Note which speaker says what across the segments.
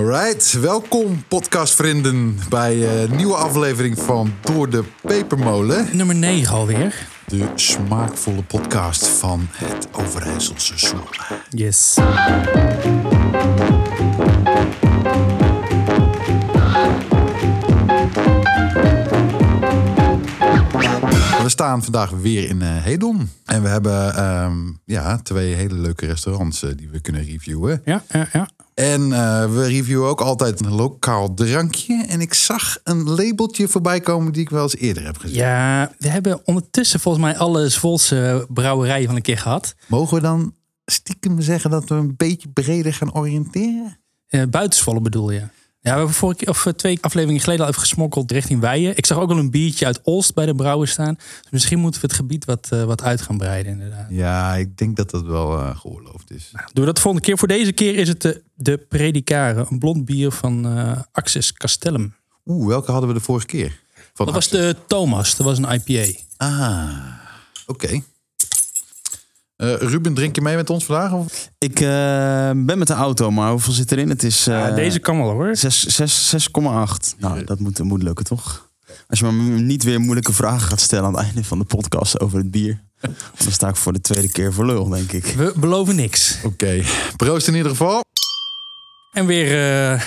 Speaker 1: Alright, welkom podcastvrienden bij eh, een nieuwe aflevering van Door de Pepermolen.
Speaker 2: Nummer 9 alweer.
Speaker 1: De smaakvolle podcast van het Overijsselse Zoelen.
Speaker 2: Yes.
Speaker 1: We staan vandaag weer in eh, Hedon. En we hebben ehm, ja, twee hele leuke restaurants eh, die we kunnen reviewen.
Speaker 2: Ja, ja, ja.
Speaker 1: En eh, we reviewen ook altijd een lokaal drankje. En ik zag een labeltje voorbij komen die ik wel eens eerder heb gezien.
Speaker 2: Ja, we hebben ondertussen volgens mij alle Zwolse brouwerijen van een keer gehad.
Speaker 1: Mogen we dan stiekem zeggen dat we een beetje breder gaan oriënteren?
Speaker 2: Eh buitenzwolle bedoel je? Ja, we hebben vorige keer, of eh, twee afleveringen geleden al even gesmokkeld richting Weijen. Ik zag ook al een biertje uit Olst bij de brouwer staan. Dus misschien moeten we het gebied wat, eh, wat uit gaan breiden inderdaad.
Speaker 1: Ja, ik denk dat dat wel eh, geoorloofd is.
Speaker 2: Nou, Doe dat de volgende keer. Voor deze keer is het de, de Predicare. Een blond bier van eh Axis Castellum.
Speaker 1: Oeh, welke hadden we de vorige keer? Van
Speaker 2: Dat was de Thomas. Dat was een IPA.
Speaker 1: Ah, oké. Eh, Ruben, drink je mee met ons vandaag? Of?
Speaker 3: Ik eh, ben met de auto, maar hoeveel zit erin? Het is eh,
Speaker 2: Ja, deze kan wel hoor.
Speaker 3: 6 6 6,8. Nou, dat moet, moet lukken, toch? Als je maar m- niet weer moeilijke vragen gaat stellen aan het einde van de podcast over het bier. Dan sta ik voor de tweede keer voor lul, denk ik.
Speaker 2: We beloven niks.
Speaker 1: Oké, proost in ieder geval.
Speaker 2: En weer eh,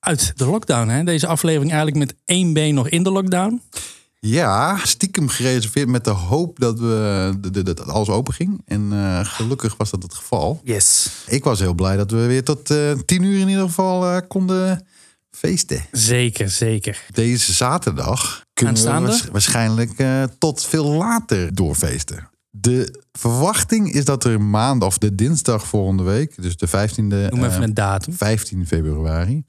Speaker 2: uit de lockdown. Hè? Deze aflevering eigenlijk met één been nog in de lockdown.
Speaker 1: Ja, stiekem gereserveerd met de hoop dat, we, de- de- dat alles open ging. En eh, gelukkig was dat het geval.
Speaker 2: Yes.
Speaker 1: Ik was heel blij dat we weer tot eh, tien uur in ieder geval eh, konden feesten.
Speaker 2: Zeker, zeker.
Speaker 1: Deze zaterdag kunnen we
Speaker 2: Aanstaande?
Speaker 1: waarsch- waarschijnlijk eh, tot veel later doorfeesten. De verwachting is dat er maandag of de dinsdag volgende week, dus de 15e,
Speaker 2: Noem
Speaker 1: eh,
Speaker 2: even een datum.
Speaker 1: 15 februari,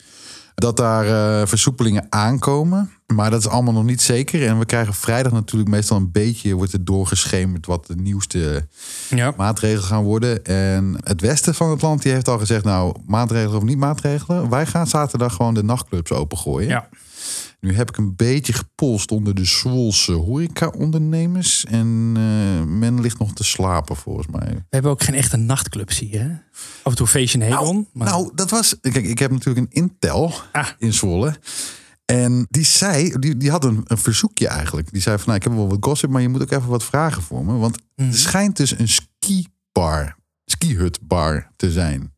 Speaker 1: dat daar eh, versoepelingen aankomen. Maar dat is allemaal nog niet zeker. En we krijgen vrijdag natuurlijk meestal een beetje, wordt het doorgeschemerd wat de nieuwste
Speaker 2: Ja.
Speaker 1: maatregelen gaan worden. En het westen van het land die heeft al gezegd, nou maatregelen of niet maatregelen. Wij gaan zaterdag gewoon de nachtclubs opengooien.
Speaker 2: Ja.
Speaker 1: Nu heb ik een beetje gepolst onder de Zwolse horeca-ondernemers. En eh, men ligt nog te slapen, volgens mij.
Speaker 2: We hebben ook geen echte nachtclubs hier. Hè? Af en toe een feestje in Hedon. maar
Speaker 1: Nou, dat was... Kijk, ik heb natuurlijk een intel
Speaker 2: Ah.
Speaker 1: in Zwolle. En die zei... Die, die had een, een verzoekje eigenlijk. Die zei van, nou, ik heb wel wat gossip... maar je moet ook even wat vragen voor me. Want
Speaker 2: Mhm.
Speaker 1: er schijnt dus een skibar, skihutbar te zijn.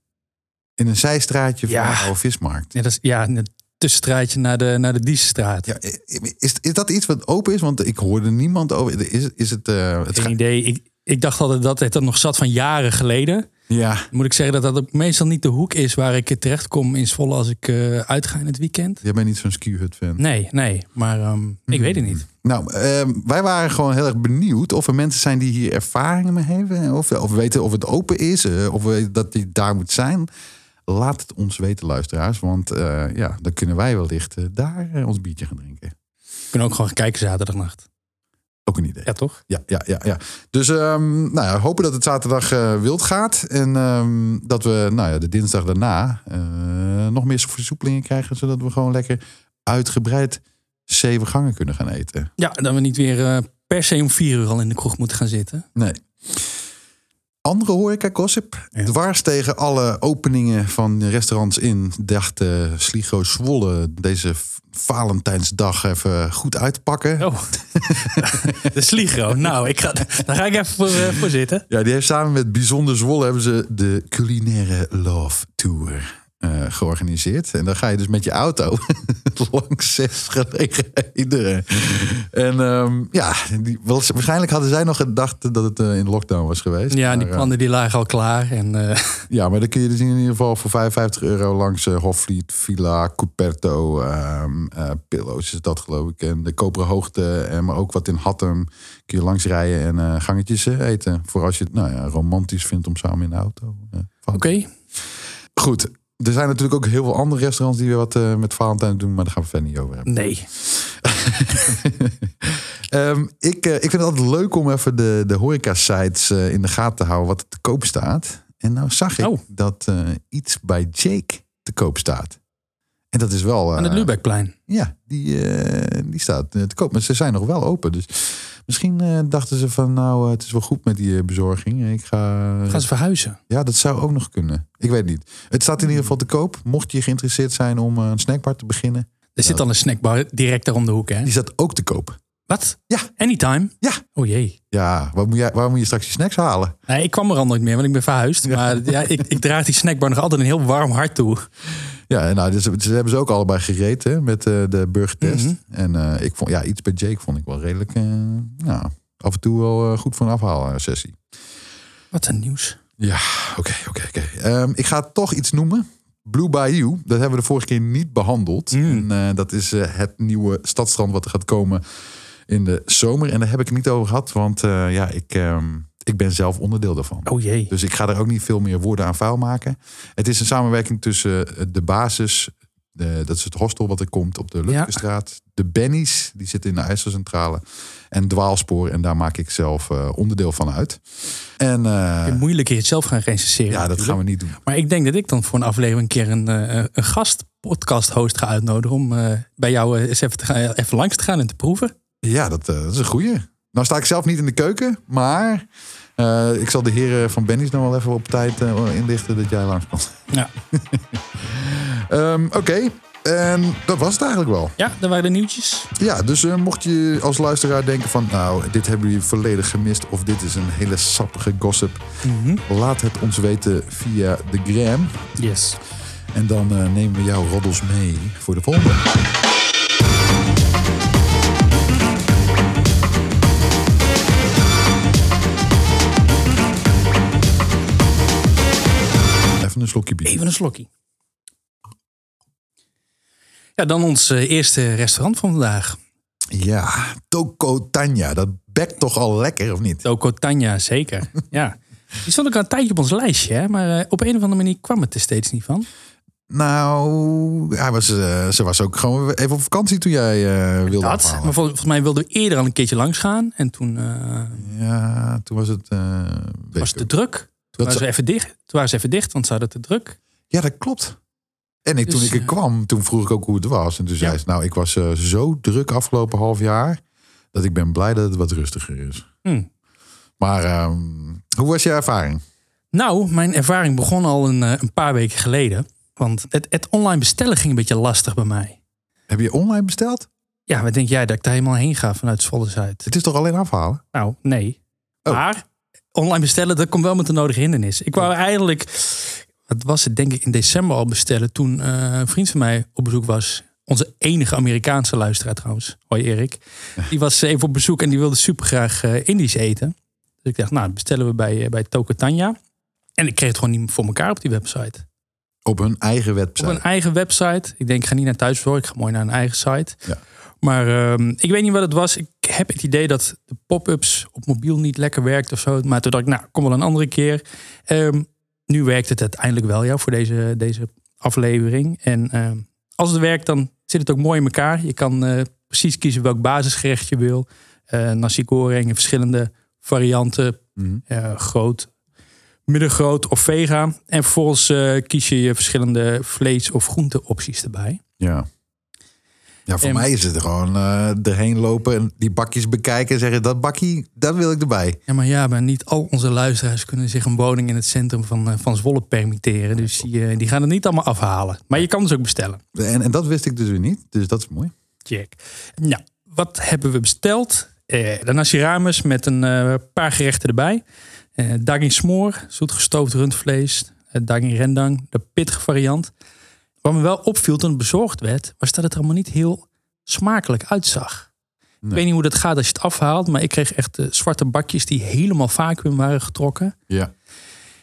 Speaker 1: In een zijstraatje van
Speaker 2: Ja.
Speaker 1: de oude vismarkt.
Speaker 2: ja, dat is, ja, een tussenstraatje naar de, naar de Diesenstraat.
Speaker 1: Ja, is, is dat iets wat open is? Want ik hoorde niemand over. Is, is het... eh het
Speaker 2: Geen
Speaker 1: ga-
Speaker 2: idee. Ik, ik dacht altijd dat het er nog zat van jaren geleden.
Speaker 1: ja.
Speaker 2: Moet ik zeggen dat dat ook meestal niet de hoek is waar ik terecht kom in Zwolle als ik eh, uitga in het weekend.
Speaker 1: Jij bent niet zo'n skihut-fan.
Speaker 2: Nee, nee. Maar ehm, ik weet het niet.
Speaker 1: Nou, ehm, wij waren gewoon heel erg benieuwd of er mensen zijn die hier ervaringen mee hebben. Of, of weten of het open is, eh, of we, dat die daar moet zijn. Laat het ons weten, luisteraars. Want eh, ja, dan kunnen wij wellicht eh, daar eh, ons biertje gaan drinken.
Speaker 2: We kunnen ook gewoon gaan kijken zaterdagnacht.
Speaker 1: Ook een idee.
Speaker 2: Ja, toch?
Speaker 1: Ja, ja, ja. ja. Dus ehm, nou ja, hopen dat het zaterdag eh, wild gaat. En ehm, dat we nou ja, de dinsdag daarna eh, nog meer versoepelingen krijgen. Zodat we gewoon lekker uitgebreid zeven gangen kunnen gaan eten.
Speaker 2: Ja, dat we niet weer eh, per se om vier uur al in de kroeg moeten gaan zitten.
Speaker 1: Nee. Andere horeca-gossip.
Speaker 2: Ja.
Speaker 1: Dwars tegen alle openingen van restaurants in... dacht eh, Sligo Zwolle deze v- Valentijnsdag even goed uitpakken.
Speaker 2: Oh, de Sligro. Nou, ik ga, daar ga ik even voor, eh, voor zitten.
Speaker 1: Ja, die heeft samen met Bijzonder Zwolle... hebben ze de culinaire love tour eh, georganiseerd. En dan ga je dus met je auto langs zes gelegenheden. En ehm, ja, die, waarschijnlijk hadden zij nog gedacht dat het eh, in lockdown was geweest.
Speaker 2: Ja, die
Speaker 1: Maar, eh,
Speaker 2: plannen die lagen al klaar. En, eh,
Speaker 1: Ja, maar dan kun je dus in ieder geval voor 55 euro langs eh, Hoflied, Villa, Cuperto, ehm eh, Pillows is dat geloof ik. En de Koperen Hoogte, en maar ook wat in Hattem. Kun je langs rijden en eh, gangetjes eh, eten. Voor als je het nou ja, romantisch vindt om samen in de auto. eh, van-
Speaker 2: Oké,
Speaker 1: Goed, er zijn natuurlijk ook heel veel andere restaurants die weer wat eh, met Valentijn doen. Maar daar gaan we verder niet over hebben.
Speaker 2: nee.
Speaker 1: Ehm, ik, eh, ik vind het altijd leuk om even de, de horeca-sites eh, in de gaten te houden wat er te koop staat. En nou zag ik
Speaker 2: Oh.
Speaker 1: dat eh, iets bij Jake te koop staat. En dat is wel... eh,
Speaker 2: Aan het Lubekplein.
Speaker 1: Ja, die, eh, die staat eh, te koop. Maar ze zijn nog wel open. Dus. Misschien eh, dachten ze van, nou, eh, het is wel goed met die eh, bezorging. Ik ga...
Speaker 2: Gaan ze verhuizen?
Speaker 1: Ja, dat zou ook nog kunnen. Ik weet niet. Het staat in ieder geval te koop. Mocht je geïnteresseerd zijn om eh, een snackbar te beginnen,
Speaker 2: Er zit dan een snackbar direct daar om de hoek, hè?
Speaker 1: die staat ook te koop.
Speaker 2: Wat?
Speaker 1: Ja.
Speaker 2: Anytime?
Speaker 1: Ja.
Speaker 2: Oh jee.
Speaker 1: Ja, waar moet je, waar moet je straks je snacks halen?
Speaker 2: Nee, ik kwam er al nooit meer, want ik ben verhuisd. Maar ja, ik, ik draag die snackbar nog altijd een heel warm hart toe.
Speaker 1: Ja, en nou, dus, ze hebben ze ook allebei gereed hè, met eh, de burgertest. En eh, ik vond, ja, iets bij Jake vond ik wel redelijk, eh, nou, af en toe wel eh, goed voor een afhalen sessie.
Speaker 2: Wat een nieuws.
Speaker 1: Ja, oké, oké, oké. Ehm, ik ga toch iets noemen. Blue Bayou, dat hebben we de vorige keer niet behandeld. En, eh, dat is eh, het nieuwe stadstrand wat er gaat komen in de zomer. En daar heb ik het niet over gehad, want eh, ja, ik, ehm, ik ben zelf onderdeel daarvan.
Speaker 2: Oh jee.
Speaker 1: Dus ik ga er ook niet veel meer woorden aan vuil maken. Het is een samenwerking tussen eh, de basis, de, dat is het hostel wat er komt op de Lutkestraat. De Bennies, die zitten in de IJsselcentrale. En Dwaalspoor, en daar maak ik zelf eh, onderdeel van uit. En eh,
Speaker 2: Je moeilijk hier het zelf gaan recenseren.
Speaker 1: ja, dat
Speaker 2: natuurlijk.
Speaker 1: gaan we niet doen.
Speaker 2: Maar ik denk dat ik dan voor een aflevering een keer een, eh, een gastpodcast-host ga uitnodigen. om eh, bij jou eh, eens even, te gaan, even langs te gaan en te proeven.
Speaker 1: Ja, dat, eh, dat is een goeie. Nou sta ik zelf niet in de keuken, maar eh, ik zal de heren van Benny's nog wel even op tijd eh, inlichten dat jij langs kan.
Speaker 2: Ja,
Speaker 1: Ehm, Oké, en dat was het eigenlijk wel.
Speaker 2: ja dat waren de nieuwtjes.
Speaker 1: Ja, dus eh, mocht je als luisteraar denken van... nou, dit hebben jullie volledig gemist... of dit is een hele sappige gossip...
Speaker 2: Mhm.
Speaker 1: laat het ons weten via de gram.
Speaker 2: Yes.
Speaker 1: En dan eh, nemen we jouw roddels mee voor de volgende. Even een slokje bier.
Speaker 2: Even een slokkie. Ja, dan ons eh, eerste restaurant van vandaag.
Speaker 1: Ja, Toko Tanja. Dat bekt toch al lekker, of niet?
Speaker 2: Toko Tanja, zeker. ja. Die stond ook al een tijdje op ons lijstje, hè? maar eh, op een of andere manier kwam het er steeds niet van.
Speaker 1: Nou, hij was, eh, ze was ook gewoon even op vakantie toen jij eh, wilde
Speaker 2: Dat, maar vol-
Speaker 1: afhalen.
Speaker 2: volgens mij wilden we eerder al een keertje langs gaan. En toen eh,
Speaker 1: Ja, toen was het... eh, weet
Speaker 2: was
Speaker 1: ik
Speaker 2: het te
Speaker 1: ook.
Speaker 2: druk. Toen
Speaker 1: Dat
Speaker 2: waren,
Speaker 1: ze-
Speaker 2: ze even dicht. toen waren ze even dicht, want ze hadden te druk.
Speaker 1: Ja, dat klopt. En ik, toen
Speaker 2: Dus,
Speaker 1: ik er
Speaker 2: eh,
Speaker 1: kwam, toen vroeg ik ook hoe het was. En toen zei
Speaker 2: Ja.
Speaker 1: ze, nou, ik was eh, zo druk afgelopen half jaar... dat ik ben blij dat het wat rustiger is.
Speaker 2: Hm.
Speaker 1: Maar ehm, hoe was je ervaring?
Speaker 2: Nou, mijn ervaring begon al een, eh, een paar weken geleden. Want het, het online bestellen ging een beetje lastig bij mij.
Speaker 1: Heb je online besteld?
Speaker 2: Ja, wat denk jij dat ik daar helemaal heen ga vanuit Zwolle Zuid?
Speaker 1: Het is toch alleen afhalen?
Speaker 2: Nou, nee.
Speaker 1: Oh.
Speaker 2: Maar online bestellen, dat komt wel met de nodige hindernis. Ik wou eigenlijk, wat was het denk ik in december al bestellen... toen eh, een vriend van mij op bezoek was. Onze enige Amerikaanse luisteraar trouwens. Hoi Erik. Die was even op bezoek en die wilde supergraag eh, Indisch eten. Dus ik dacht, nou, dat bestellen we bij, eh, bij Tokotanya. En ik kreeg het gewoon niet voor elkaar op die website.
Speaker 1: Op hun eigen website.
Speaker 2: Op een eigen website. Ik denk, ik ga niet naar thuisbezorgd. Ik ga mooi naar een eigen site.
Speaker 1: Ja.
Speaker 2: Maar ehm, ik weet niet wat het was. Ik heb het idee dat de pop-ups op mobiel niet lekker werkt of zo. Maar toen dacht ik, nou, kom wel een andere keer. Ehm, nu werkt het uiteindelijk wel, ja, voor deze, deze aflevering. En ehm, als het werkt, dan zit het ook mooi in elkaar. Je kan eh, precies kiezen welk basisgerecht je wil. Eh nasi goreng, in verschillende varianten.
Speaker 1: Mhm.
Speaker 2: Eh, groot, middengroot of vega. En vervolgens eh, kies je je verschillende vlees- of groenteopties erbij.
Speaker 1: Ja. Ja, voor
Speaker 2: En-
Speaker 1: mij is het gewoon eh, erheen lopen en die bakjes bekijken en zeggen dat bakkie, dat wil ik erbij.
Speaker 2: Ja, maar ja, maar niet al onze luisteraars kunnen zich een woning in het centrum van, eh, van Zwolle permitteren. Dus die, eh, die gaan het niet allemaal afhalen. Maar je kan dus ook bestellen.
Speaker 1: En, en dat wist ik dus weer niet, dus dat is mooi.
Speaker 2: Check. Nou, wat hebben we besteld? Eh, de nasi rames met een eh, paar gerechten erbij. Eh daging smoor, zoetgestoofd rundvlees. eh, daging rendang, de pittige variant. Wat me wel opviel toen het bezorgd werd, was dat het er allemaal niet heel smakelijk uitzag. Ik weet niet hoe dat gaat als je het afhaalt, maar ik kreeg echt eh, zwarte bakjes die helemaal vacuüm waren getrokken.
Speaker 1: Ja.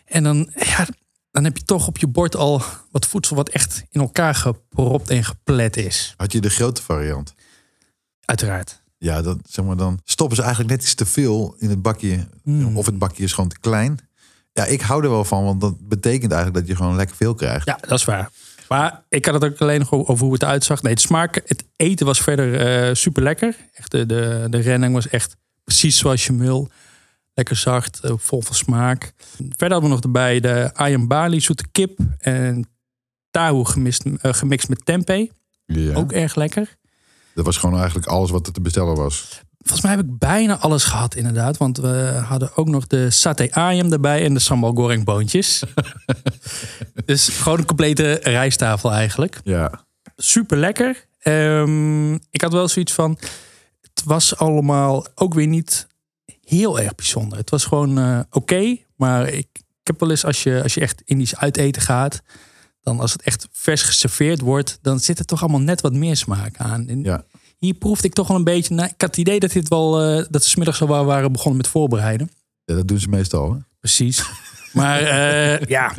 Speaker 2: En dan, ja, dan heb je toch op je bord al wat voedsel wat echt in elkaar gepropt en geplet is.
Speaker 1: Had je de grote variant?
Speaker 2: Uiteraard.
Speaker 1: Ja, dat, zeg maar, dan stoppen ze eigenlijk net iets te veel in het bakje. Of het bakje is gewoon te klein. Ja, ik hou er wel van, want dat betekent eigenlijk dat je gewoon lekker veel krijgt.
Speaker 2: Ja, dat is waar. Maar ik had het ook alleen nog over hoe het eruit Nee, het smaak, het eten was verder super lekker. Echt de, de, de renning was echt precies zoals je wil. Lekker zacht, eh, vol van smaak. Verder hadden we nog erbij de ayam bali, zoete kip. En tahu gemist, eh, gemixt met tempeh.
Speaker 1: Ja.
Speaker 2: Ook erg lekker.
Speaker 1: Dat was gewoon eigenlijk alles wat er te bestellen was.
Speaker 2: Volgens mij heb ik bijna alles gehad inderdaad. Want we hadden ook nog de satay ayam erbij en de sambal goreng boontjes. dus gewoon een complete rijsttafel eigenlijk.
Speaker 1: Ja.
Speaker 2: Super lekker. Ehm, ik had wel zoiets van... Het was allemaal ook weer niet heel erg bijzonder. Het was gewoon eh, oké. maar ik, ik heb wel eens als je, als je echt Indisch uiteten gaat... dan als het echt vers geserveerd wordt... dan zit er toch allemaal net wat meer smaak aan. En
Speaker 1: Ja.
Speaker 2: hier proefde ik toch wel een beetje. Nou, ik had het idee dat dit wel eh, dat ze 's middags al wa- waren begonnen met voorbereiden.
Speaker 1: Ja, dat doen ze meestal. Hè?
Speaker 2: Precies. Maar eh, ja,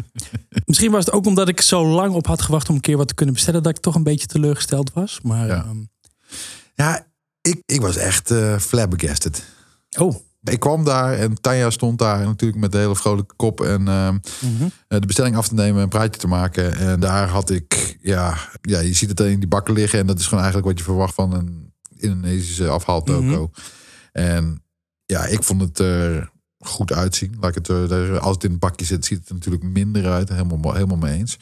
Speaker 2: misschien was het ook omdat ik zo lang op had gewacht om een keer wat te kunnen bestellen, dat ik toch een beetje teleurgesteld was. Maar
Speaker 1: Ja.
Speaker 2: ehm,
Speaker 1: Ja, ik, ik was echt eh flabbergasted.
Speaker 2: oh,
Speaker 1: Ik kwam daar en Tanja stond daar natuurlijk met de hele vrolijke kop en ehm,
Speaker 2: Mhm.
Speaker 1: eh, de bestelling af te nemen en een praatje te maken. En daar had ik, ja, ja, je ziet het in die bakken liggen en dat is gewoon eigenlijk wat je verwacht van een Indonesische afhaaltoko.
Speaker 2: Mhm.
Speaker 1: En ja, ik vond het er goed uitzien. Laat ik het, eh, daar- als het in het bakje zit, ziet het er natuurlijk minder uit. Helemaal, helemaal mee eens.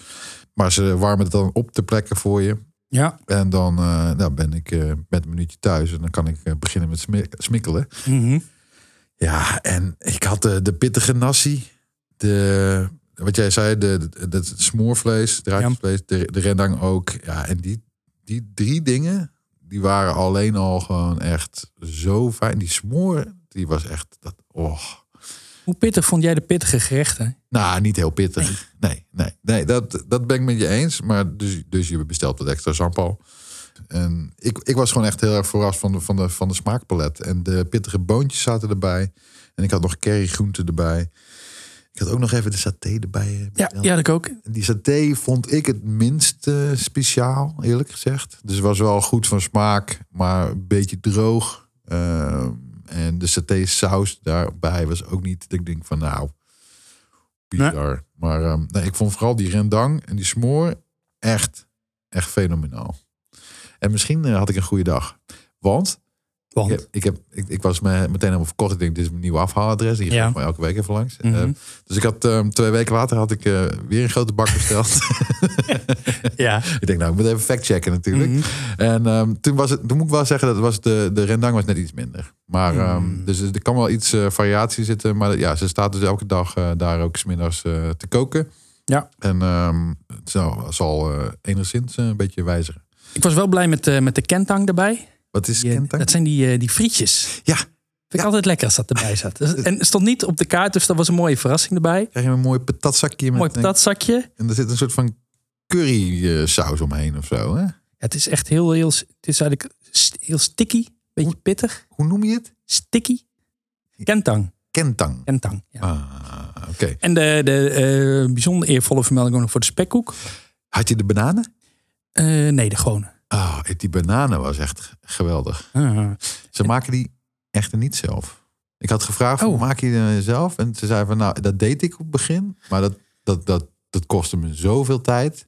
Speaker 1: Maar ze warmen het dan op te plekken voor je.
Speaker 2: ja.
Speaker 1: En dan eh, nou ben ik eh, met een minuutje thuis en dan kan ik eh, beginnen met smi- smikkelen.
Speaker 2: Mhm.
Speaker 1: Ja, en ik had de, de pittige nasi, de, wat jij zei, de, de, het smoorvlees, draadjesvlees, de, de rendang ook. Ja, en die, die drie dingen, die waren alleen al gewoon echt zo fijn. Die smoor, die was echt, dat, oh.
Speaker 2: Hoe pittig vond jij de pittige gerechten?
Speaker 1: Nou, niet heel pittig. Nee, nee, nee dat, dat ben ik met je eens. Maar dus, dus je bestelt wat extra sambal. En ik, ik was gewoon echt heel erg verrast van de, van, de, van de smaakpalet. En de pittige boontjes zaten erbij. En ik had nog currygroenten erbij. Ik had ook nog even de saté erbij. eh,
Speaker 2: Ja,
Speaker 1: besteld.
Speaker 2: ja, dat ik ook.
Speaker 1: En Die saté vond ik het minst eh, speciaal, eerlijk gezegd. Dus het was wel goed van smaak, maar een beetje droog. Ehm, en de saté saus daarbij was ook niet, dat ik denk van nou, bizar. Maar ehm, nee, ik vond vooral die rendang en die smoor echt, echt fenomenaal. En misschien eh, had ik een goede dag. Want
Speaker 2: Want,
Speaker 1: ik, heb, ik, heb, ik, ik was me, meteen helemaal verkocht. Ik denk, dit is mijn nieuwe afhaaladres. Hier
Speaker 2: Ja.
Speaker 1: ga ik maar elke week even langs.
Speaker 2: Mhm.
Speaker 1: Eh, dus ik had ehm, twee weken later had ik eh, weer een grote bak besteld.
Speaker 2: ja.
Speaker 1: ik denk, nou, ik moet even factchecken natuurlijk.
Speaker 2: Mhm.
Speaker 1: En ehm, toen, was het, toen moet ik wel zeggen, dat was de, de rendang was net iets minder. Maar ehm,
Speaker 2: Mm.
Speaker 1: dus er kan wel iets eh, variatie zitten. Maar ja, ze staat dus elke dag eh, daar ook smiddags eh te koken.
Speaker 2: Ja.
Speaker 1: En ehm, het zal, zal eh, enigszins eh, een beetje wijzigen.
Speaker 2: Ik was wel blij met, eh, met de kentang erbij.
Speaker 1: Wat is
Speaker 2: Die, eh,
Speaker 1: kentang?
Speaker 2: Dat zijn die, eh, die frietjes.
Speaker 1: Ja,
Speaker 2: Vind ik altijd lekker als dat erbij zat. Dus- En het stond niet op de kaart, dus dat was een mooie verrassing erbij.
Speaker 1: krijg je een mooi patatzakje. Met,
Speaker 2: Mooi
Speaker 1: een-
Speaker 2: patatzakje.
Speaker 1: En er zit een soort van curry eh, saus omheen of zo. Hè?
Speaker 2: Het is echt heel, heel, het is eigenlijk st- heel sticky. Beetje pittig.
Speaker 1: Hoe noem je het?
Speaker 2: Sticky. Kentang.
Speaker 1: Kentang.
Speaker 2: Kentang, ja.
Speaker 1: Ah, oké.
Speaker 2: En de, de eh, bijzonder eervolle vermelding ook nog voor de spekkoek.
Speaker 1: Had je de bananen?
Speaker 2: Eh, nee, de gewone. Ah,
Speaker 1: Oh, die bananen was echt g- geweldig. Ze maken die echter niet zelf. Ik had gevraagd, van,
Speaker 2: Oh.
Speaker 1: maak je die nou zelf? En ze zei van, nou, dat deed ik op het begin. Maar dat, dat, dat, dat kostte me zoveel tijd.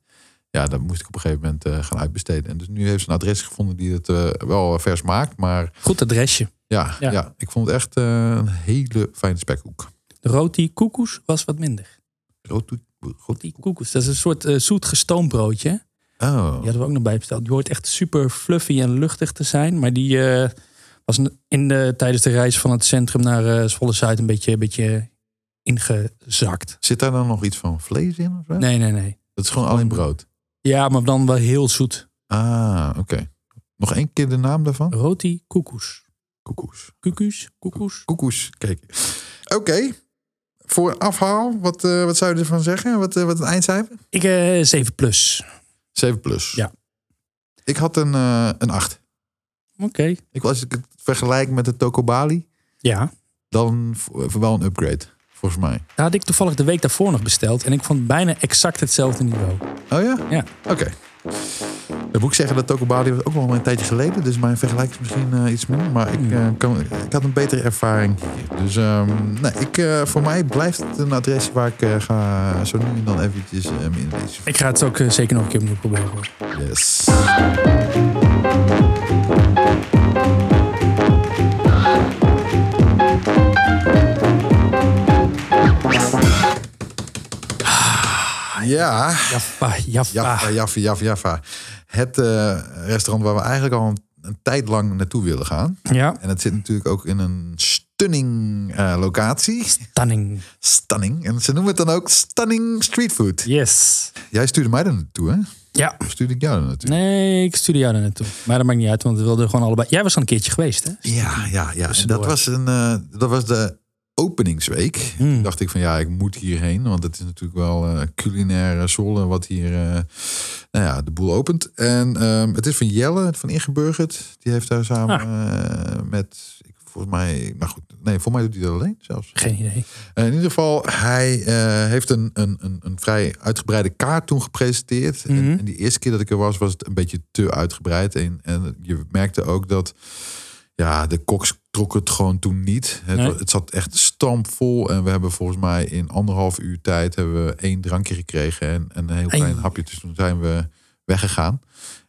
Speaker 1: Ja, dat moest ik op een gegeven moment eh, gaan uitbesteden. En dus nu heeft ze een adres gevonden die het eh, wel vers maakt. Maar
Speaker 2: Goed adresje.
Speaker 1: ja, ja.
Speaker 2: Ja.
Speaker 1: ik vond het echt eh, een hele fijne spekhoek.
Speaker 2: De roti koekoes was wat minder.
Speaker 1: Rood, rood-
Speaker 2: Roti koekoes, dat is een soort eh, zoet gestoomd broodje. hè?
Speaker 1: Oh,
Speaker 2: Die hadden we ook nog bij besteld. Die hoort echt super fluffy en luchtig te zijn. Maar die eh, was een- in de, tijdens de reis van het centrum naar eh Zwolle-Zuid een beetje, een beetje ingezakt.
Speaker 1: Zit daar dan nog iets van vlees in? Of zo?
Speaker 2: Nee, nee, nee.
Speaker 1: Dat is gewoon alleen brood.
Speaker 2: Ja, maar dan wel heel zoet.
Speaker 1: Ah, oké. Nog één keer de naam daarvan?
Speaker 2: Roti koekoes.
Speaker 1: Koekoes.
Speaker 2: Koekoes, koekoes.
Speaker 1: Koekoes, kijk. Oké. Voor afhaal, wat, eh, wat zou je ervan zeggen? Wat, eh, wat een eindcijfer?
Speaker 2: Ik eh 7 plus.
Speaker 1: 7 plus.
Speaker 2: Ja.
Speaker 1: Ik had een, eh, een 8.
Speaker 2: Oké.
Speaker 1: Ik, als ik het vergelijk met de Tokobali,
Speaker 2: Ja.
Speaker 1: dan v- eh, wel een upgrade, volgens mij.
Speaker 2: Dat had ik toevallig de week daarvoor nog besteld. En ik vond het bijna exact hetzelfde niveau.
Speaker 1: Oh ja?
Speaker 2: Ja.
Speaker 1: Oké. Dan moet ik zeggen dat Tokobali was ook wel een tijdje geleden. Dus mijn vergelijk is misschien eh, iets minder. Maar ik, eh, kan, ik had een betere ervaring hier. Dus ehm, nee, ik, eh, voor mij blijft het een adres waar ik eh, ga zo nu en dan eventjes eh, me in deze
Speaker 2: Ik ga het ook eh, zeker nog een keer opnieuw proberen. hoor.
Speaker 1: Yes. Ah, Ja,
Speaker 2: Jaffa, Jaffa. Ah.
Speaker 1: Jaffa, Jaffa, Jaffa, Jaffa. Het eh, restaurant waar we eigenlijk al een, een tijd lang naartoe willen gaan.
Speaker 2: Ja,
Speaker 1: En het zit natuurlijk ook in een stunning eh, locatie.
Speaker 2: tanning.
Speaker 1: Stunning. En ze noemen het dan ook stunning streetfood.
Speaker 2: Yes.
Speaker 1: Jij stuurde mij daar naartoe, hè?
Speaker 2: Ja.
Speaker 1: Of stuurde ik jou daar naartoe?
Speaker 2: Nee, ik stuurde jou daar naartoe. Maar dat maakt niet uit, want we wilden gewoon allebei... Jij was al een keertje geweest, hè?
Speaker 1: Ja, ja, ja. En dat
Speaker 2: Tussendoor.
Speaker 1: was, een, eh, dat was de openingsweek.
Speaker 2: Hmm.
Speaker 1: Toen dacht ik van ja, ik moet hierheen. Want het is natuurlijk wel eh, culinaire zolle wat hier eh, nou ja, de boel opent. En ehm, het is van Jelle, van Ingeburgerd. Die heeft daar samen
Speaker 2: Ah.
Speaker 1: eh, met, ik, volgens mij, maar goed. Nee, volgens mij doet hij dat alleen zelfs.
Speaker 2: Geen idee.
Speaker 1: Eh, in ieder geval, hij eh, heeft een, een, een, een vrij uitgebreide kaart toen gepresenteerd. En-
Speaker 2: Mhm.
Speaker 1: en, die eerste keer dat ik er was, was het een beetje te uitgebreid. En, en je merkte ook dat ja, de koks trok het gewoon toen niet. Het,
Speaker 2: Nee.
Speaker 1: wa- het zat echt stampvol. En we hebben volgens mij in anderhalf uur tijd hebben we één drankje gekregen en, en een heel
Speaker 2: Ei.
Speaker 1: klein hapje. Dus toen zijn we weggegaan.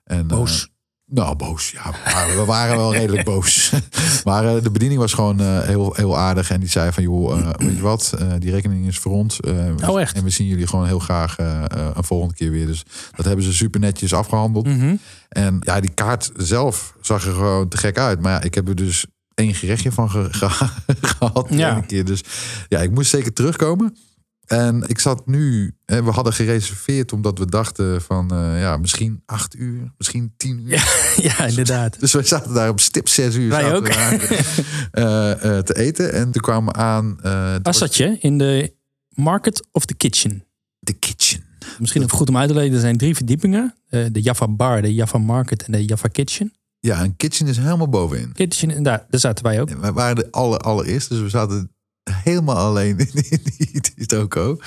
Speaker 1: En, eh,
Speaker 2: Boos.
Speaker 1: nou, boos. Ja, we waren- we waren wel redelijk boos. Maar eh, de bediening was gewoon eh, heel, heel aardig. En die zei van, joh, eh, weet je wat? eh, die rekening is voor ons. Eh,
Speaker 2: Oh, echt?
Speaker 1: En we zien jullie gewoon heel graag eh, eh, een volgende keer weer. Dus dat hebben ze super netjes afgehandeld.
Speaker 2: Mhm.
Speaker 1: En ja, die kaart zelf zag er gewoon te gek uit. Maar ja, ik heb er dus één gerechtje van ge- ge- gehad. de
Speaker 2: Ja.
Speaker 1: ene keer. Dus ja, ik moest zeker terugkomen. En ik zat nu, hè, we hadden gereserveerd omdat we dachten van eh, ja, misschien acht uur, misschien tien uur.
Speaker 2: Ja, inderdaad.
Speaker 1: Dus wij zaten daar op stip zes uur
Speaker 2: Wij
Speaker 1: zaten
Speaker 2: ook.
Speaker 1: we daar, eh, eh, te eten. En toen kwamen we aan eh,
Speaker 2: Waar zat je? In de market of the kitchen?
Speaker 1: de kitchen.
Speaker 2: Misschien even goed om uit te leggen. Er zijn drie verdiepingen. Eh, de Java Bar, de Java Market en de Java Kitchen.
Speaker 1: Ja, een kitchen is helemaal bovenin.
Speaker 2: Kitchen, en daar, daar zaten wij ook.
Speaker 1: En wij waren de aller, allereerst, dus we zaten helemaal alleen in die, die, die toko.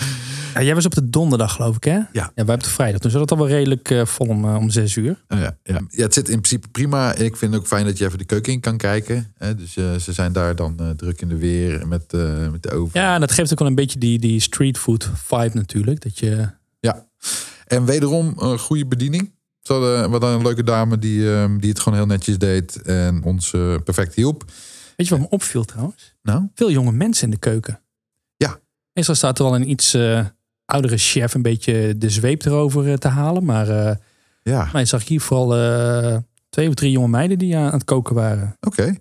Speaker 2: Ja, jij was op de donderdag, geloof ik, hè? Ja. wij op de vrijdag. Toen zat het al wel redelijk eh, vol om, eh, om zes uur.
Speaker 1: Oh ja, ja. ja, het zit in principe prima. Ik vind het ook fijn dat je even de keuken in kan kijken. Hè? Dus eh, ze zijn daar dan eh, druk in de weer met, eh, met de oven.
Speaker 2: Ja, en dat geeft ook wel een beetje die, die streetfood vibe natuurlijk. Dat je...
Speaker 1: En wederom een goede bediening. Ze hadden wat een leuke dame die, ehm, die het gewoon heel netjes deed en ons eh, perfect hielp.
Speaker 2: Weet je wat me opviel trouwens?
Speaker 1: Nou?
Speaker 2: Veel jonge mensen in de keuken.
Speaker 1: Ja.
Speaker 2: Meestal staat er wel een iets eh, oudere chef een beetje de zweep erover eh, te halen. Maar eh
Speaker 1: Ja,
Speaker 2: mij zag ik hier vooral eh, twee of drie jonge meiden die aan het koken waren.
Speaker 1: oké.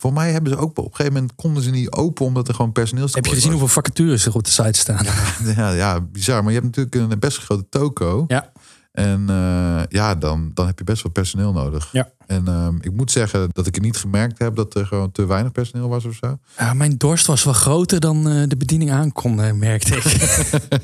Speaker 1: Voor mij hebben ze ook op een gegeven moment konden ze niet open omdat er gewoon personeelstekort
Speaker 2: Heb je gezien hoeveel vacatures er op de site staan?
Speaker 1: was. Ja, ja, bizar. Maar je hebt natuurlijk een best grote toko.
Speaker 2: Ja.
Speaker 1: En eh, ja, dan, dan heb je best wel personeel nodig.
Speaker 2: Ja.
Speaker 1: En ehm, ik moet zeggen dat ik het niet gemerkt heb dat er gewoon te weinig personeel was of zo.
Speaker 2: Ja, mijn dorst was wel groter dan eh, de bediening aankon, eh, merkte ik.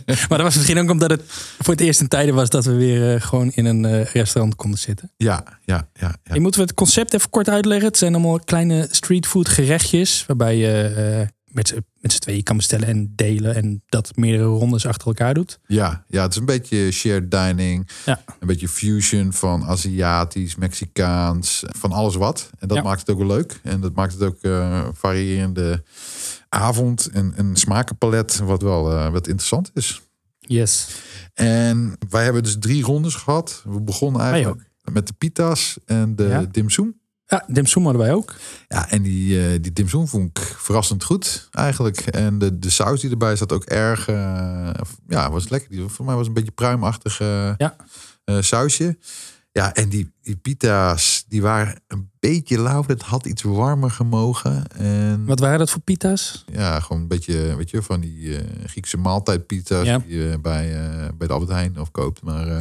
Speaker 2: maar dat was misschien ook omdat het voor het eerst in tijden was dat we weer eh, gewoon in een eh, restaurant konden zitten.
Speaker 1: Ja, ja, ja. ja.
Speaker 2: Je moeten we het concept even kort uitleggen. Het zijn allemaal kleine streetfood gerechtjes waarbij je eh, met z'n- met z'n tweeën kan bestellen en delen. En dat meerdere rondes achter elkaar doet.
Speaker 1: Ja, ja, het is een beetje shared dining.
Speaker 2: Ja.
Speaker 1: Een beetje fusion van Aziatisch, Mexicaans, van alles wat. En dat
Speaker 2: Ja.
Speaker 1: maakt het ook wel leuk. En dat maakt het ook eh, variërende avond en een smakenpalet, wat wel eh, wat interessant is.
Speaker 2: Yes.
Speaker 1: En wij hebben dus drie rondes gehad. We begonnen eigenlijk met de pita's en de
Speaker 2: Ja.
Speaker 1: dimsum.
Speaker 2: Ja, dim sum hadden wij ook.
Speaker 1: Ja, en die, eh die dimsum vond ik verrassend goed eigenlijk. En de, de saus die erbij zat ook erg, eh, ja, was lekker. Die, voor mij was een beetje pruimachtig eh,
Speaker 2: Ja.
Speaker 1: eh, sausje. Ja, en die, die pita's, die waren een beetje lauw. Het had iets warmer gemogen. En
Speaker 2: Wat waren dat voor pita's?
Speaker 1: ja, gewoon een beetje, weet je, van die eh, Griekse maaltijdpizza's
Speaker 2: Ja.
Speaker 1: die je bij, eh, bij de Albert Heijn of koopt. Maar eh,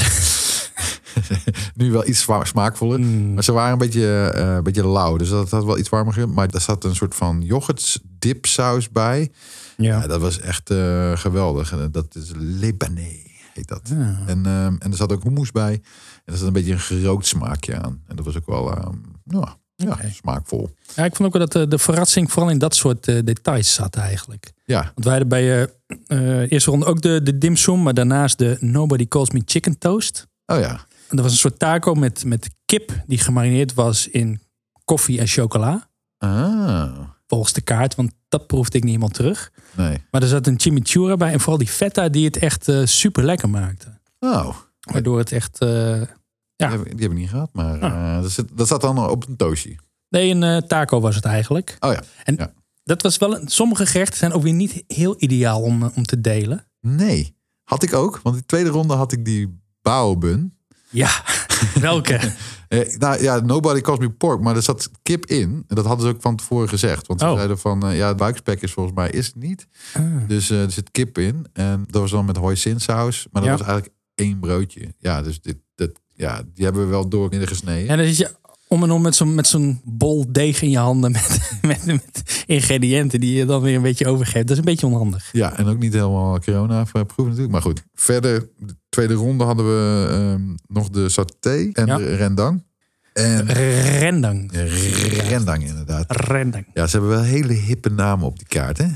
Speaker 1: nu wel iets zwa- smaakvoller.
Speaker 2: Mm,
Speaker 1: Maar ze waren een beetje, eh, een beetje lauw, dus dat had wel iets warmer. ge- Maar daar zat een soort van yoghurtdipsaus bij. Ja.
Speaker 2: ja.
Speaker 1: dat was echt eh, geweldig. En Dat is Lebanese, heet dat.
Speaker 2: Ah.
Speaker 1: En, ehm, en er zat ook hummus bij. En er zat een beetje een gerookt smaakje aan. En dat was ook wel ehm, ja, ja,
Speaker 2: Oké.
Speaker 1: smaakvol.
Speaker 2: Ja, ik vond ook wel dat eh, de verrassing vooral in dat soort eh, details zat eigenlijk.
Speaker 1: Ja,
Speaker 2: Want wij hadden bij eh eh, eerste ronde ook de, de dim sum, maar daarnaast de Nobody Calls Me Chicken Toast.
Speaker 1: oh ja.
Speaker 2: En dat was een soort taco met, met kip die gemarineerd was in koffie en chocola.
Speaker 1: Ah,
Speaker 2: Volgens de kaart, want dat proefde ik niet helemaal terug.
Speaker 1: nee.
Speaker 2: Maar er zat een chimichurri bij en vooral die feta die het echt eh, super lekker maakte.
Speaker 1: Oh,
Speaker 2: Waardoor het echt... eh, Ja. Ah.
Speaker 1: Die, hebben, die hebben we niet gehad, maar eh, dat, zit- dat zat dan op een toosje.
Speaker 2: nee, een eh, taco was het eigenlijk.
Speaker 1: Oh ja.
Speaker 2: Dat was wel... een- Sommige gerechten zijn ook weer niet heel ideaal om, eh, om te delen.
Speaker 1: Nee, had ik ook. Want in de tweede ronde had ik die baobun.
Speaker 2: Ja, welke?
Speaker 1: Eh, nou ja, nobody calls me pork, maar er zat kip in. En dat hadden ze ook van tevoren gezegd. Want ze
Speaker 2: Oh.
Speaker 1: zeiden van, eh, ja, het buikspek is volgens mij is het niet.
Speaker 2: Ah.
Speaker 1: Dus eh, er zit kip in. En dat was dan met hoisinsaus. Maar dat
Speaker 2: Ja.
Speaker 1: was eigenlijk één broodje. Ja, dus dit, dat, ja, die hebben we wel door in gesneden.
Speaker 2: En dan zit je om en om met zo'n met zo'n bol deeg in je handen met, met, met ingrediënten die je dan weer een beetje overgeeft. Dat is een beetje onhandig.
Speaker 1: Ja, en ook niet helemaal corona-proef natuurlijk. Maar goed, verder, de tweede ronde hadden we ehm, nog de saté en
Speaker 2: Ja.
Speaker 1: de rendang. En
Speaker 2: Rendang.
Speaker 1: rendang inderdaad.
Speaker 2: Rendang.
Speaker 1: Ja, ze hebben wel hele hippe namen op die kaart, hè?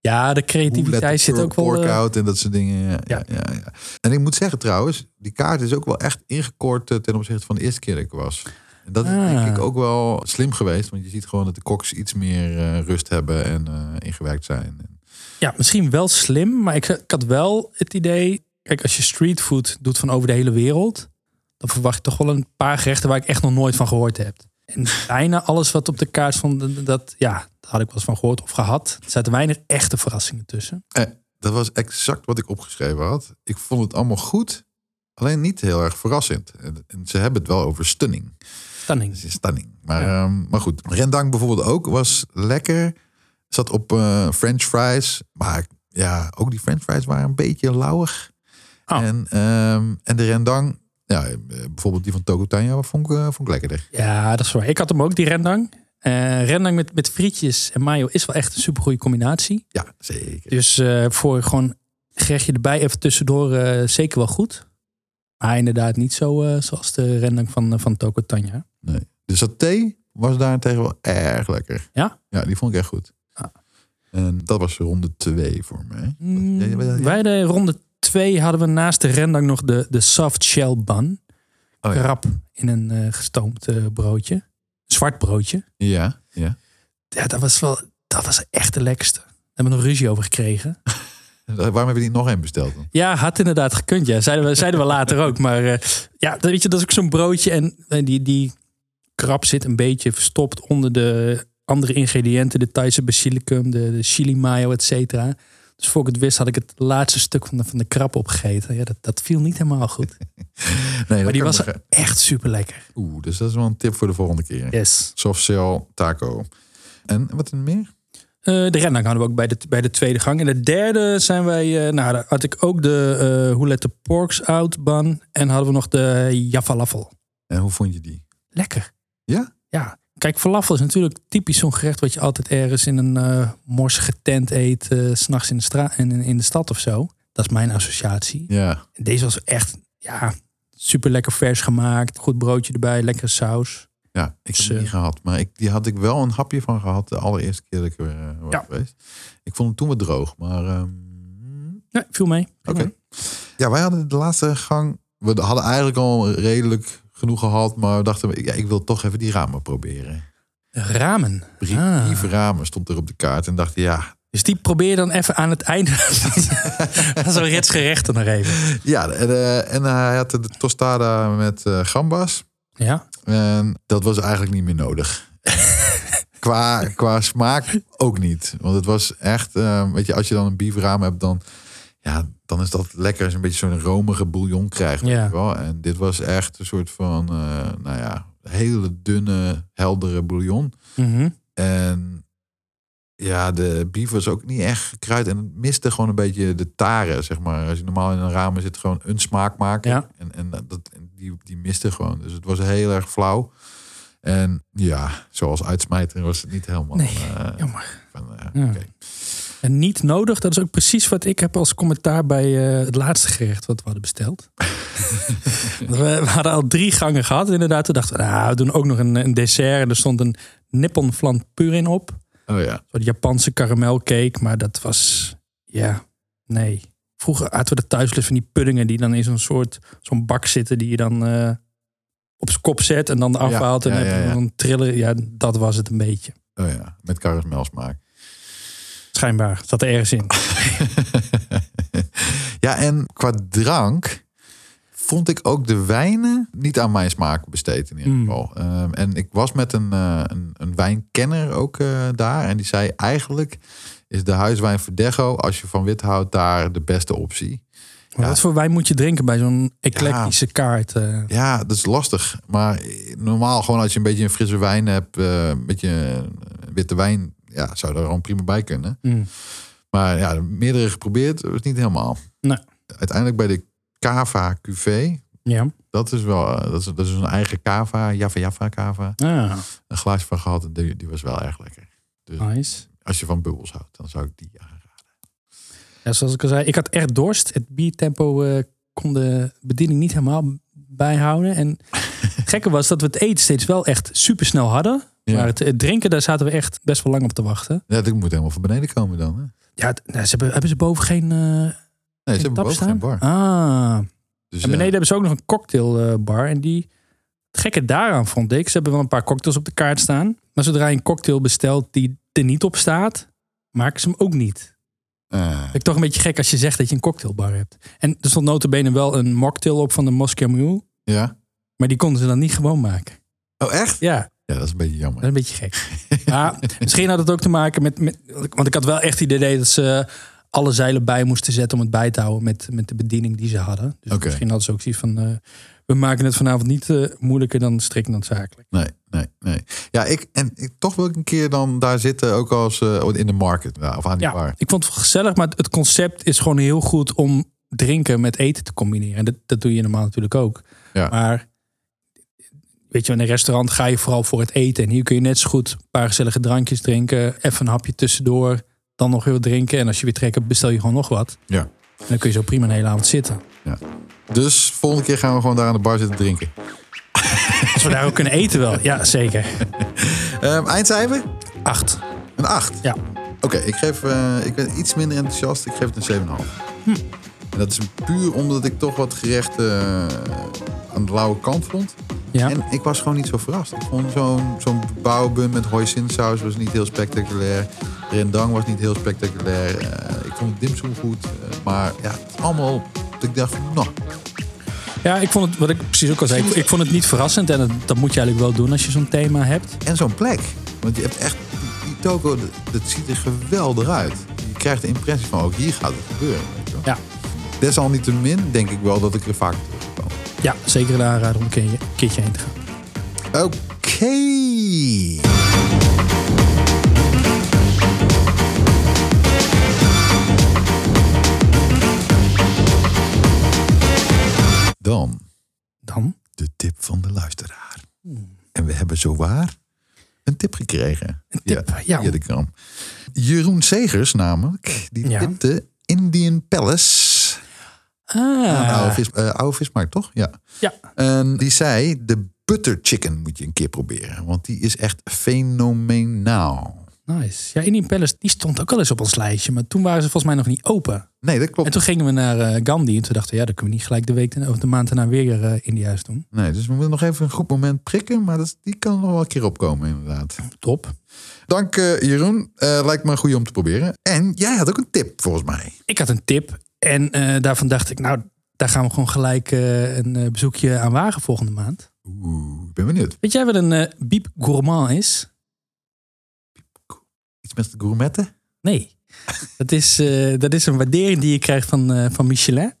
Speaker 2: Ja, de creativiteit zit ook wel... eh,
Speaker 1: Workout en dat soort dingen. Ja, ja.
Speaker 2: Ja.
Speaker 1: Ja, ja. En ik moet zeggen trouwens, die kaart is ook wel echt ingekort eh, ten opzichte van de eerste keer dat ik was. En dat is
Speaker 2: Ah.
Speaker 1: denk ik ook wel slim geweest, want je ziet gewoon dat de koks iets meer eh, rust hebben en eh, ingewerkt zijn.
Speaker 2: Ja, misschien wel slim, maar ik, ik had wel het idee. Kijk, als je streetfood doet van over de hele wereld, dan verwacht ik toch wel een paar gerechten waar ik echt nog nooit van gehoord heb. En bijna alles wat op de kaart stond, dat, ja, daar had ik wel eens van gehoord of gehad. Er zaten weinig echte verrassingen tussen.
Speaker 1: Dat was exact wat ik opgeschreven had. Ik vond het allemaal goed, alleen niet heel erg verrassend. En, en ze hebben het wel over stunning.
Speaker 2: Stunning.
Speaker 1: Het Dus is stunning. Maar, ehm, maar goed, rendang bijvoorbeeld ook was lekker. Zat op eh, French fries. Maar ja, ook die French fries waren een beetje lauwig.
Speaker 2: Ah.
Speaker 1: En, ehm, en de rendang, ja, eh, bijvoorbeeld die van Tokotanya, vond ik, eh, vond ik lekkerder.
Speaker 2: Ja, dat is waar. Ik had hem ook, die rendang. Eh, rendang met, met frietjes en mayo is wel echt een supergoeie combinatie.
Speaker 1: Ja, zeker.
Speaker 2: Dus eh, voor gewoon gerechtje erbij even tussendoor eh, zeker wel goed. Maar inderdaad niet zo eh, zoals de rendang van, eh, van Toko Tanja.
Speaker 1: De saté was daarentegen wel erg lekker.
Speaker 2: Ja?
Speaker 1: Ja, die vond ik echt goed.
Speaker 2: Ah.
Speaker 1: En dat was ronde twee voor mij.
Speaker 2: Mm,
Speaker 1: Wat- ja, ja, ja.
Speaker 2: Wij de ronde 2 hadden we naast de rendang nog de, de soft shell bun.
Speaker 1: Oh ja.
Speaker 2: Krap in een eh, gestoomd eh, broodje. Zwart broodje.
Speaker 1: Ja, ja.
Speaker 2: Ja, dat was wel, dat was echt de lekkerste. Daar hebben we nog ruzie over gekregen.
Speaker 1: Waarom hebben we die nog één besteld dan?
Speaker 2: Ja, had inderdaad gekund. Ja, zeiden we, zeiden we later ook. Maar eh, ja, dat, weet je, dat is ook zo'n broodje. En eh, die, die krap zit een beetje verstopt onder de andere ingrediënten. De Thaise basilicum, de, de chili mayo, et cetera. Dus voor ik het wist had ik het laatste stuk van de, van de krap opgegeten. Ja, dat, dat viel niet helemaal goed.
Speaker 1: Nee,
Speaker 2: Maar die was
Speaker 1: er.
Speaker 2: echt super lekker.
Speaker 1: Oeh, dus dat is wel een tip voor de volgende keer.
Speaker 2: Yes.
Speaker 1: Soft shell, taco. En wat er meer?
Speaker 2: Eh, de rendang hadden we ook bij de, bij de tweede gang. En de derde zijn wij, eh, nou daar had ik ook de eh Who Let The Porks Out ban. En hadden we nog de Jaffa Laffel.
Speaker 1: En hoe vond je die?
Speaker 2: Lekker.
Speaker 1: Ja?
Speaker 2: Ja. Kijk, falafel is natuurlijk typisch zo'n gerecht wat je altijd ergens in een eh morsige tent eet. eh, s S'nachts in, de stra- in, in de stad of zo. Dat is mijn associatie.
Speaker 1: Ja,
Speaker 2: En Deze was echt, ja, super lekker vers gemaakt. Goed broodje erbij, lekkere saus.
Speaker 1: ja ik heb
Speaker 2: Dus,
Speaker 1: hem
Speaker 2: eh,
Speaker 1: niet gehad. Maar ik, die had ik wel een hapje van gehad de allereerste keer dat ik er eh, was
Speaker 2: Ja.
Speaker 1: geweest. Ik vond hem toen wat droog, maar... ehm,
Speaker 2: Nee, viel mee. Viel
Speaker 1: Oké.
Speaker 2: mee.
Speaker 1: Ja, wij hadden de laatste gang... We hadden eigenlijk al redelijk genoeg gehad, maar we dachten, we, ja, ik wil toch even die ramen proberen.
Speaker 2: Ramen.
Speaker 1: Brief,
Speaker 2: Ah.
Speaker 1: ramen stond er op de kaart en dachten, ja,
Speaker 2: Dus die probeer je dan even aan het einde van zo'n ritsgerecht er nog even.
Speaker 1: ja en, eh, en hij had de tostada met eh, gambas.
Speaker 2: Ja,
Speaker 1: En Ehm, dat was eigenlijk niet meer nodig. qua, qua smaak ook niet. Want het was echt, eh, weet je, als je dan een biefraam hebt, dan, ja, dan is dat lekker als je een beetje zo'n romige bouillon krijgt. weet
Speaker 2: Ja.
Speaker 1: je wel. En dit was echt een soort van, eh, nou ja, hele dunne, heldere bouillon.
Speaker 2: Mhm.
Speaker 1: En ja, de bief was ook niet echt gekruid. En het miste gewoon een beetje de taren, zeg maar. Als je normaal in een ramen zit, gewoon een smaak maken.
Speaker 2: Ja.
Speaker 1: En, en dat, en die, die miste gewoon. Dus het was heel erg flauw. En ja, zoals uitsmijter was het niet helemaal...
Speaker 2: Nee,
Speaker 1: eh,
Speaker 2: jammer.
Speaker 1: van, eh,
Speaker 2: Ja.
Speaker 1: oké.
Speaker 2: En niet nodig, dat is ook precies wat ik heb als commentaar bij eh, het laatste gerecht wat we hadden besteld. we, we hadden al drie gangen gehad inderdaad. Toen dachten we, nou, we doen ook nog een, een dessert. En er stond een nippon flan purin op. Een
Speaker 1: Oh ja.
Speaker 2: soort Japanse karamelcake, maar dat was, ja, nee. Vroeger aten we de thuisles van die puddingen die dan in zo'n soort, zo'n bak zitten die je dan eh, op zijn kop zet en dan afhaalt.
Speaker 1: ja,
Speaker 2: en dan
Speaker 1: ja,
Speaker 2: heb je
Speaker 1: ja.
Speaker 2: een triller. Ja, dat was het een beetje.
Speaker 1: Oh ja, met karamelsmaak.
Speaker 2: Schijnbaar, zat er ergens in.
Speaker 1: ja, en qua drank vond ik ook de wijnen niet aan mijn smaak besteed in ieder
Speaker 2: Mm.
Speaker 1: geval. Ehm, en ik was met een, eh, een, een wijnkenner ook eh, daar. En die zei eigenlijk is de huiswijn Verdecho, als je van wit houdt, daar de beste optie.
Speaker 2: Maar
Speaker 1: Ja.
Speaker 2: Wat voor wijn moet je drinken bij zo'n eclectische kaart? eh?
Speaker 1: Ja, dat is lastig. Maar normaal gewoon als je een beetje een frisse wijn hebt, eh, een beetje eh, witte wijn, ja, zou er gewoon prima bij kunnen.
Speaker 2: Mm.
Speaker 1: Maar ja, meerdere geprobeerd, dat is niet helemaal.
Speaker 2: Nee.
Speaker 1: Uiteindelijk bij de Cava QV,
Speaker 2: Ja.
Speaker 1: dat is wel, eh, dat is, dat is een eigen Cava, Java Java Cava.
Speaker 2: Ah,
Speaker 1: Een glaasje van gehad, en die, die was wel erg lekker.
Speaker 2: nice.
Speaker 1: Als je van bubbels houdt, dan zou ik die aanraden.
Speaker 2: Ja, zoals ik al zei, ik had echt dorst. Het biertempo eh, kon de bediening niet helemaal bijhouden. En het gekke was dat we het eten steeds wel echt supersnel hadden.
Speaker 1: Ja.
Speaker 2: Maar het, het drinken, daar zaten we echt best wel lang op te wachten.
Speaker 1: Ja, dat moet helemaal van beneden komen dan. Hè?
Speaker 2: Ja, het- nou, ze hebben, hebben ze boven geen, eh
Speaker 1: Nee, ze
Speaker 2: geen
Speaker 1: hebben
Speaker 2: tap
Speaker 1: boven
Speaker 2: staan?
Speaker 1: geen bar.
Speaker 2: Ah,
Speaker 1: Dus,
Speaker 2: en beneden
Speaker 1: eh,
Speaker 2: hebben ze ook nog een cocktailbar. en die, het gekke daaraan vond ik, ze hebben wel een paar cocktails op de kaart staan. Maar zodra je een cocktail bestelt die er niet op staat, maken ze hem ook niet.
Speaker 1: eh,
Speaker 2: Vind ik toch een beetje gek als je zegt dat je een cocktailbar hebt. En er stond notabene wel een mocktail op van de Moscow Mule.
Speaker 1: ja.
Speaker 2: Maar die konden ze dan niet gewoon maken.
Speaker 1: Oh, echt?
Speaker 2: Ja, dat
Speaker 1: Ja, dat is een beetje jammer.
Speaker 2: is een beetje gek. Maar misschien had het ook te maken met, met... Want ik had wel echt het idee dat ze alle zeilen bij moesten zetten... om het bij te houden met, met de bediening die ze hadden. Dus
Speaker 1: Oké.
Speaker 2: misschien hadden ze ook zoiets van... eh, we maken het vanavond niet eh, moeilijker dan strikt noodzakelijk.
Speaker 1: Nee, nee, nee. Ja, ik, en ik, toch wil ik een keer dan daar zitten, ook als eh, in de market ja, of aan die
Speaker 2: Ja,
Speaker 1: bar.
Speaker 2: ik vond het wel gezellig, maar het concept is gewoon heel goed... om drinken met eten te combineren. En dat, dat doe je normaal natuurlijk ook.
Speaker 1: Ja.
Speaker 2: Maar weet je, in een restaurant ga je vooral voor het eten. En hier kun je net zo goed een paar gezellige drankjes drinken. Even een hapje tussendoor. Dan nog heel wat drinken. En als je weer trek hebt, bestel je gewoon nog wat.
Speaker 1: Ja.
Speaker 2: En dan kun je zo prima een hele avond zitten.
Speaker 1: Dus volgende keer gaan we gewoon daar aan de bar zitten drinken.
Speaker 2: Als we daar ook kunnen eten wel. Ja, zeker.
Speaker 1: Ehm, eindcijfer?
Speaker 2: Acht.
Speaker 1: Een 8.
Speaker 2: Ja.
Speaker 1: Oké, ik geef. eh, ik ben iets minder enthousiast. Ik geef het een 7,5.
Speaker 2: Hm.
Speaker 1: En dat is puur omdat ik toch wat gerechten eh, aan de lauwe kant vond.
Speaker 2: Ja.
Speaker 1: En ik was gewoon niet zo verrast. Ik vond zo'n zo'n bouwbun met hoisinsaus was niet heel spectaculair. Rendang was niet heel spectaculair. Eh, ik vond dimsum goed. eh, maar ja, het is allemaal... dat Ik dacht, van, nou,
Speaker 2: ja, ik vond het, wat ik precies ook al zei, ik, ik vond het niet verrassend. En dat, dat moet je eigenlijk wel doen als je zo'n thema hebt.
Speaker 1: en zo'n plek. Want je hebt echt... Die toko, dat, dat ziet er geweldig uit. Je krijgt de impressie van, ook hier gaat het gebeuren. weet je wel.
Speaker 2: Ja,
Speaker 1: Desalniettemin denk ik wel dat ik er vaak terugkom.
Speaker 2: ja zeker een aanrader om een keer- een keertje heen te gaan.
Speaker 1: Oké. Dan
Speaker 2: Dan?
Speaker 1: de tip van de luisteraar.
Speaker 2: Hmm.
Speaker 1: En we hebben zowaar een tip gekregen. Een
Speaker 2: tip, ja.
Speaker 1: de kram. Jeroen Segers namelijk, die
Speaker 2: Ja.
Speaker 1: tipte Indian Palace. Aan de oude,
Speaker 2: Ah,
Speaker 1: vis, eh, oude vismarkt, toch? Ja.
Speaker 2: ja.
Speaker 1: En Ehm, die zei, de butter chicken moet je een keer proberen. Want die is echt fenomenaal.
Speaker 2: Nice. Ja, Indian Palace, die stond ook al eens op ons lijstje. Maar toen waren ze volgens mij nog niet open.
Speaker 1: Nee, dat
Speaker 2: En
Speaker 1: klopt.
Speaker 2: toen gingen we naar eh, Gandhi. En toen dachten we, ja, dan kunnen we niet gelijk de week daarna- of de maand daarna weer eh India's doen.
Speaker 1: Nee, dus we moeten nog even een goed moment prikken. Maar dat, die kan nog wel een keer opkomen, inderdaad.
Speaker 2: Top.
Speaker 1: Dank eh, Jeroen. Eh, lijkt me een goede om te proberen. En jij had ook een tip, volgens mij.
Speaker 2: Ik had een tip. En eh, daarvan dacht ik, nou, daar gaan we gewoon gelijk eh, een eh, bezoekje aan wagen volgende maand.
Speaker 1: Oeh, ik ben benieuwd.
Speaker 2: Weet jij wat een eh biep gourmand is?
Speaker 1: Iets met gourmetten?
Speaker 2: Nee. dat, is, eh, dat is een waardering die je krijgt van, eh, van Michelin.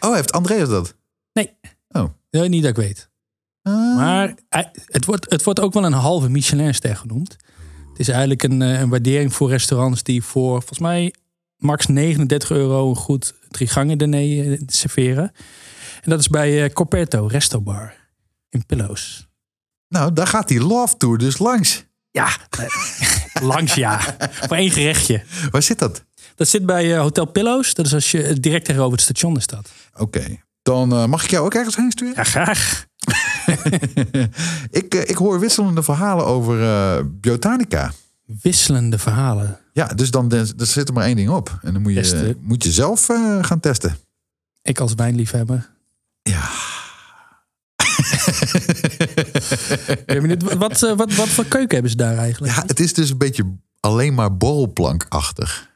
Speaker 1: Oh, heeft Andreas dat?
Speaker 2: Nee, niet dat ik weet.
Speaker 1: Ah,
Speaker 2: Maar hij- het wordt, het wordt ook wel een halve Michelinster genoemd. Het is eigenlijk een, eh, een waardering voor restaurants die voor volgens mij max 39 euro een goed drie gangen diner eh, serveren. En dat is bij eh Corpetto Resto Bar in Pillows.
Speaker 1: Nou, daar gaat die love tour dus langs.
Speaker 2: Ja, eh, langs ja. Voor één gerechtje.
Speaker 1: Waar zit dat?
Speaker 2: Dat zit bij eh, Hotel Pillows. Dat is als je eh, direct tegenover het station is dat.
Speaker 1: Oké. Dan eh, mag ik jou ook ergens heen sturen?
Speaker 2: Ja, graag.
Speaker 1: ik, eh, ik hoor wisselende verhalen over eh, biotanica.
Speaker 2: Wisselende verhalen.
Speaker 1: Ja, dus dan dan- er zit er maar één ding op. En dan moet je,
Speaker 2: Testen.
Speaker 1: moet je zelf eh, gaan testen.
Speaker 2: Ik als wijnliefhebber.
Speaker 1: Ja.
Speaker 2: Ben je benieuwd? Wat, eh, wat, wat voor keuken hebben ze daar eigenlijk?
Speaker 1: ja, het is dus een beetje alleen maar borrelplankachtig.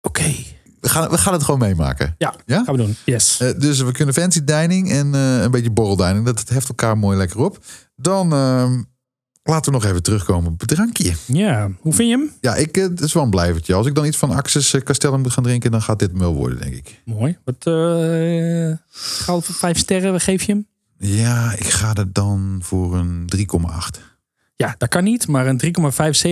Speaker 2: Oké.
Speaker 1: We gaan, we gaan het gewoon meemaken.
Speaker 2: Ja,
Speaker 1: Ja?
Speaker 2: gaan we doen. Yes.
Speaker 1: Eh, dus we kunnen fancy dining en eh, een beetje borreldining. Dat, dat heft elkaar mooi lekker op. Dan ehm, Laten we nog even terugkomen op het drankje.
Speaker 2: Ja, hoe vind je hem?
Speaker 1: Ja, ik, eh, het is wel een blijvertje. Als ik dan iets van Axis eh, Castellum moet gaan drinken, dan gaat dit hem wel worden, denk ik.
Speaker 2: Mooi. Wat eh goud voor vijf sterren, wat geef je hem?
Speaker 1: Ja, ik ga er dan voor een 3,8.
Speaker 2: Ja, dat kan niet, maar een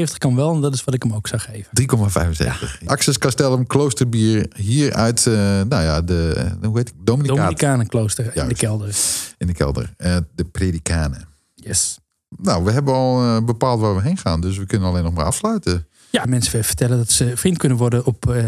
Speaker 2: 3,75 kan wel. En dat is wat ik hem ook zou geven.
Speaker 1: 3,75. Axis Castellum Kloosterbier hier uit, eh, nou ja, de, eh, hoe heet ik? Dominicaat
Speaker 2: Dominicanenklooster in de
Speaker 1: Juist.
Speaker 2: kelder.
Speaker 1: in de kelder. Eh, de Predikanen.
Speaker 2: Yes.
Speaker 1: Nou, we hebben al eh, bepaald waar we heen gaan, dus we kunnen alleen nog maar afsluiten.
Speaker 2: Ja, mensen even vertellen dat ze vriend kunnen worden op eh,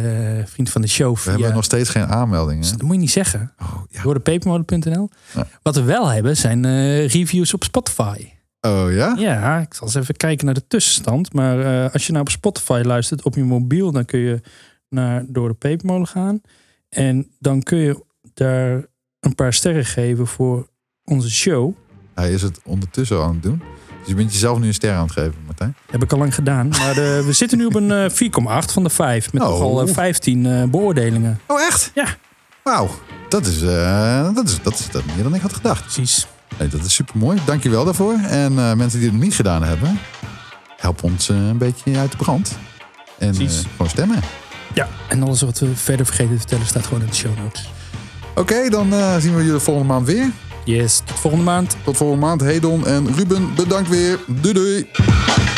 Speaker 2: Vriend van de Show.
Speaker 1: We
Speaker 2: Via...
Speaker 1: hebben nog steeds geen aanmeldingen.
Speaker 2: Dat moet je niet zeggen.
Speaker 1: Oh, ja.
Speaker 2: Door de pepermolen.nl.
Speaker 1: Ja.
Speaker 2: Wat we wel hebben zijn eh, reviews op Spotify.
Speaker 1: Oh ja?
Speaker 2: Ja, ik zal eens even kijken naar de tussenstand. Maar eh, als je nou op Spotify luistert op je mobiel, dan kun je naar door de pepermolen gaan. En dan kun je daar een paar sterren geven voor onze show.
Speaker 1: Hij is het ondertussen al aan het doen. Dus je bent jezelf nu een ster aan het geven, Martijn.
Speaker 2: Heb ik al lang gedaan. Maar de- we zitten nu op een eh, 4,8 van de 5. Met
Speaker 1: Oh.
Speaker 2: nogal eh, 15 eh, beoordelingen.
Speaker 1: Oh echt?
Speaker 2: Ja.
Speaker 1: Wauw, dat is, eh, dat is, dat is dat meer dan ik had gedacht.
Speaker 2: Precies.
Speaker 1: Nee, dat is super mooi. Dankjewel daarvoor. En eh, mensen die het nog niet gedaan hebben, help ons eh, een beetje uit de brand. En eh,
Speaker 2: Precies.
Speaker 1: gewoon stemmen.
Speaker 2: Ja, en alles wat we verder vergeten te vertellen staat gewoon in de show notes.
Speaker 1: Oké, dan eh, zien we jullie volgende maand weer.
Speaker 2: Yes, tot volgende maand.
Speaker 1: Tot volgende maand. Hedon en Ruben, bedankt weer. Doei doei.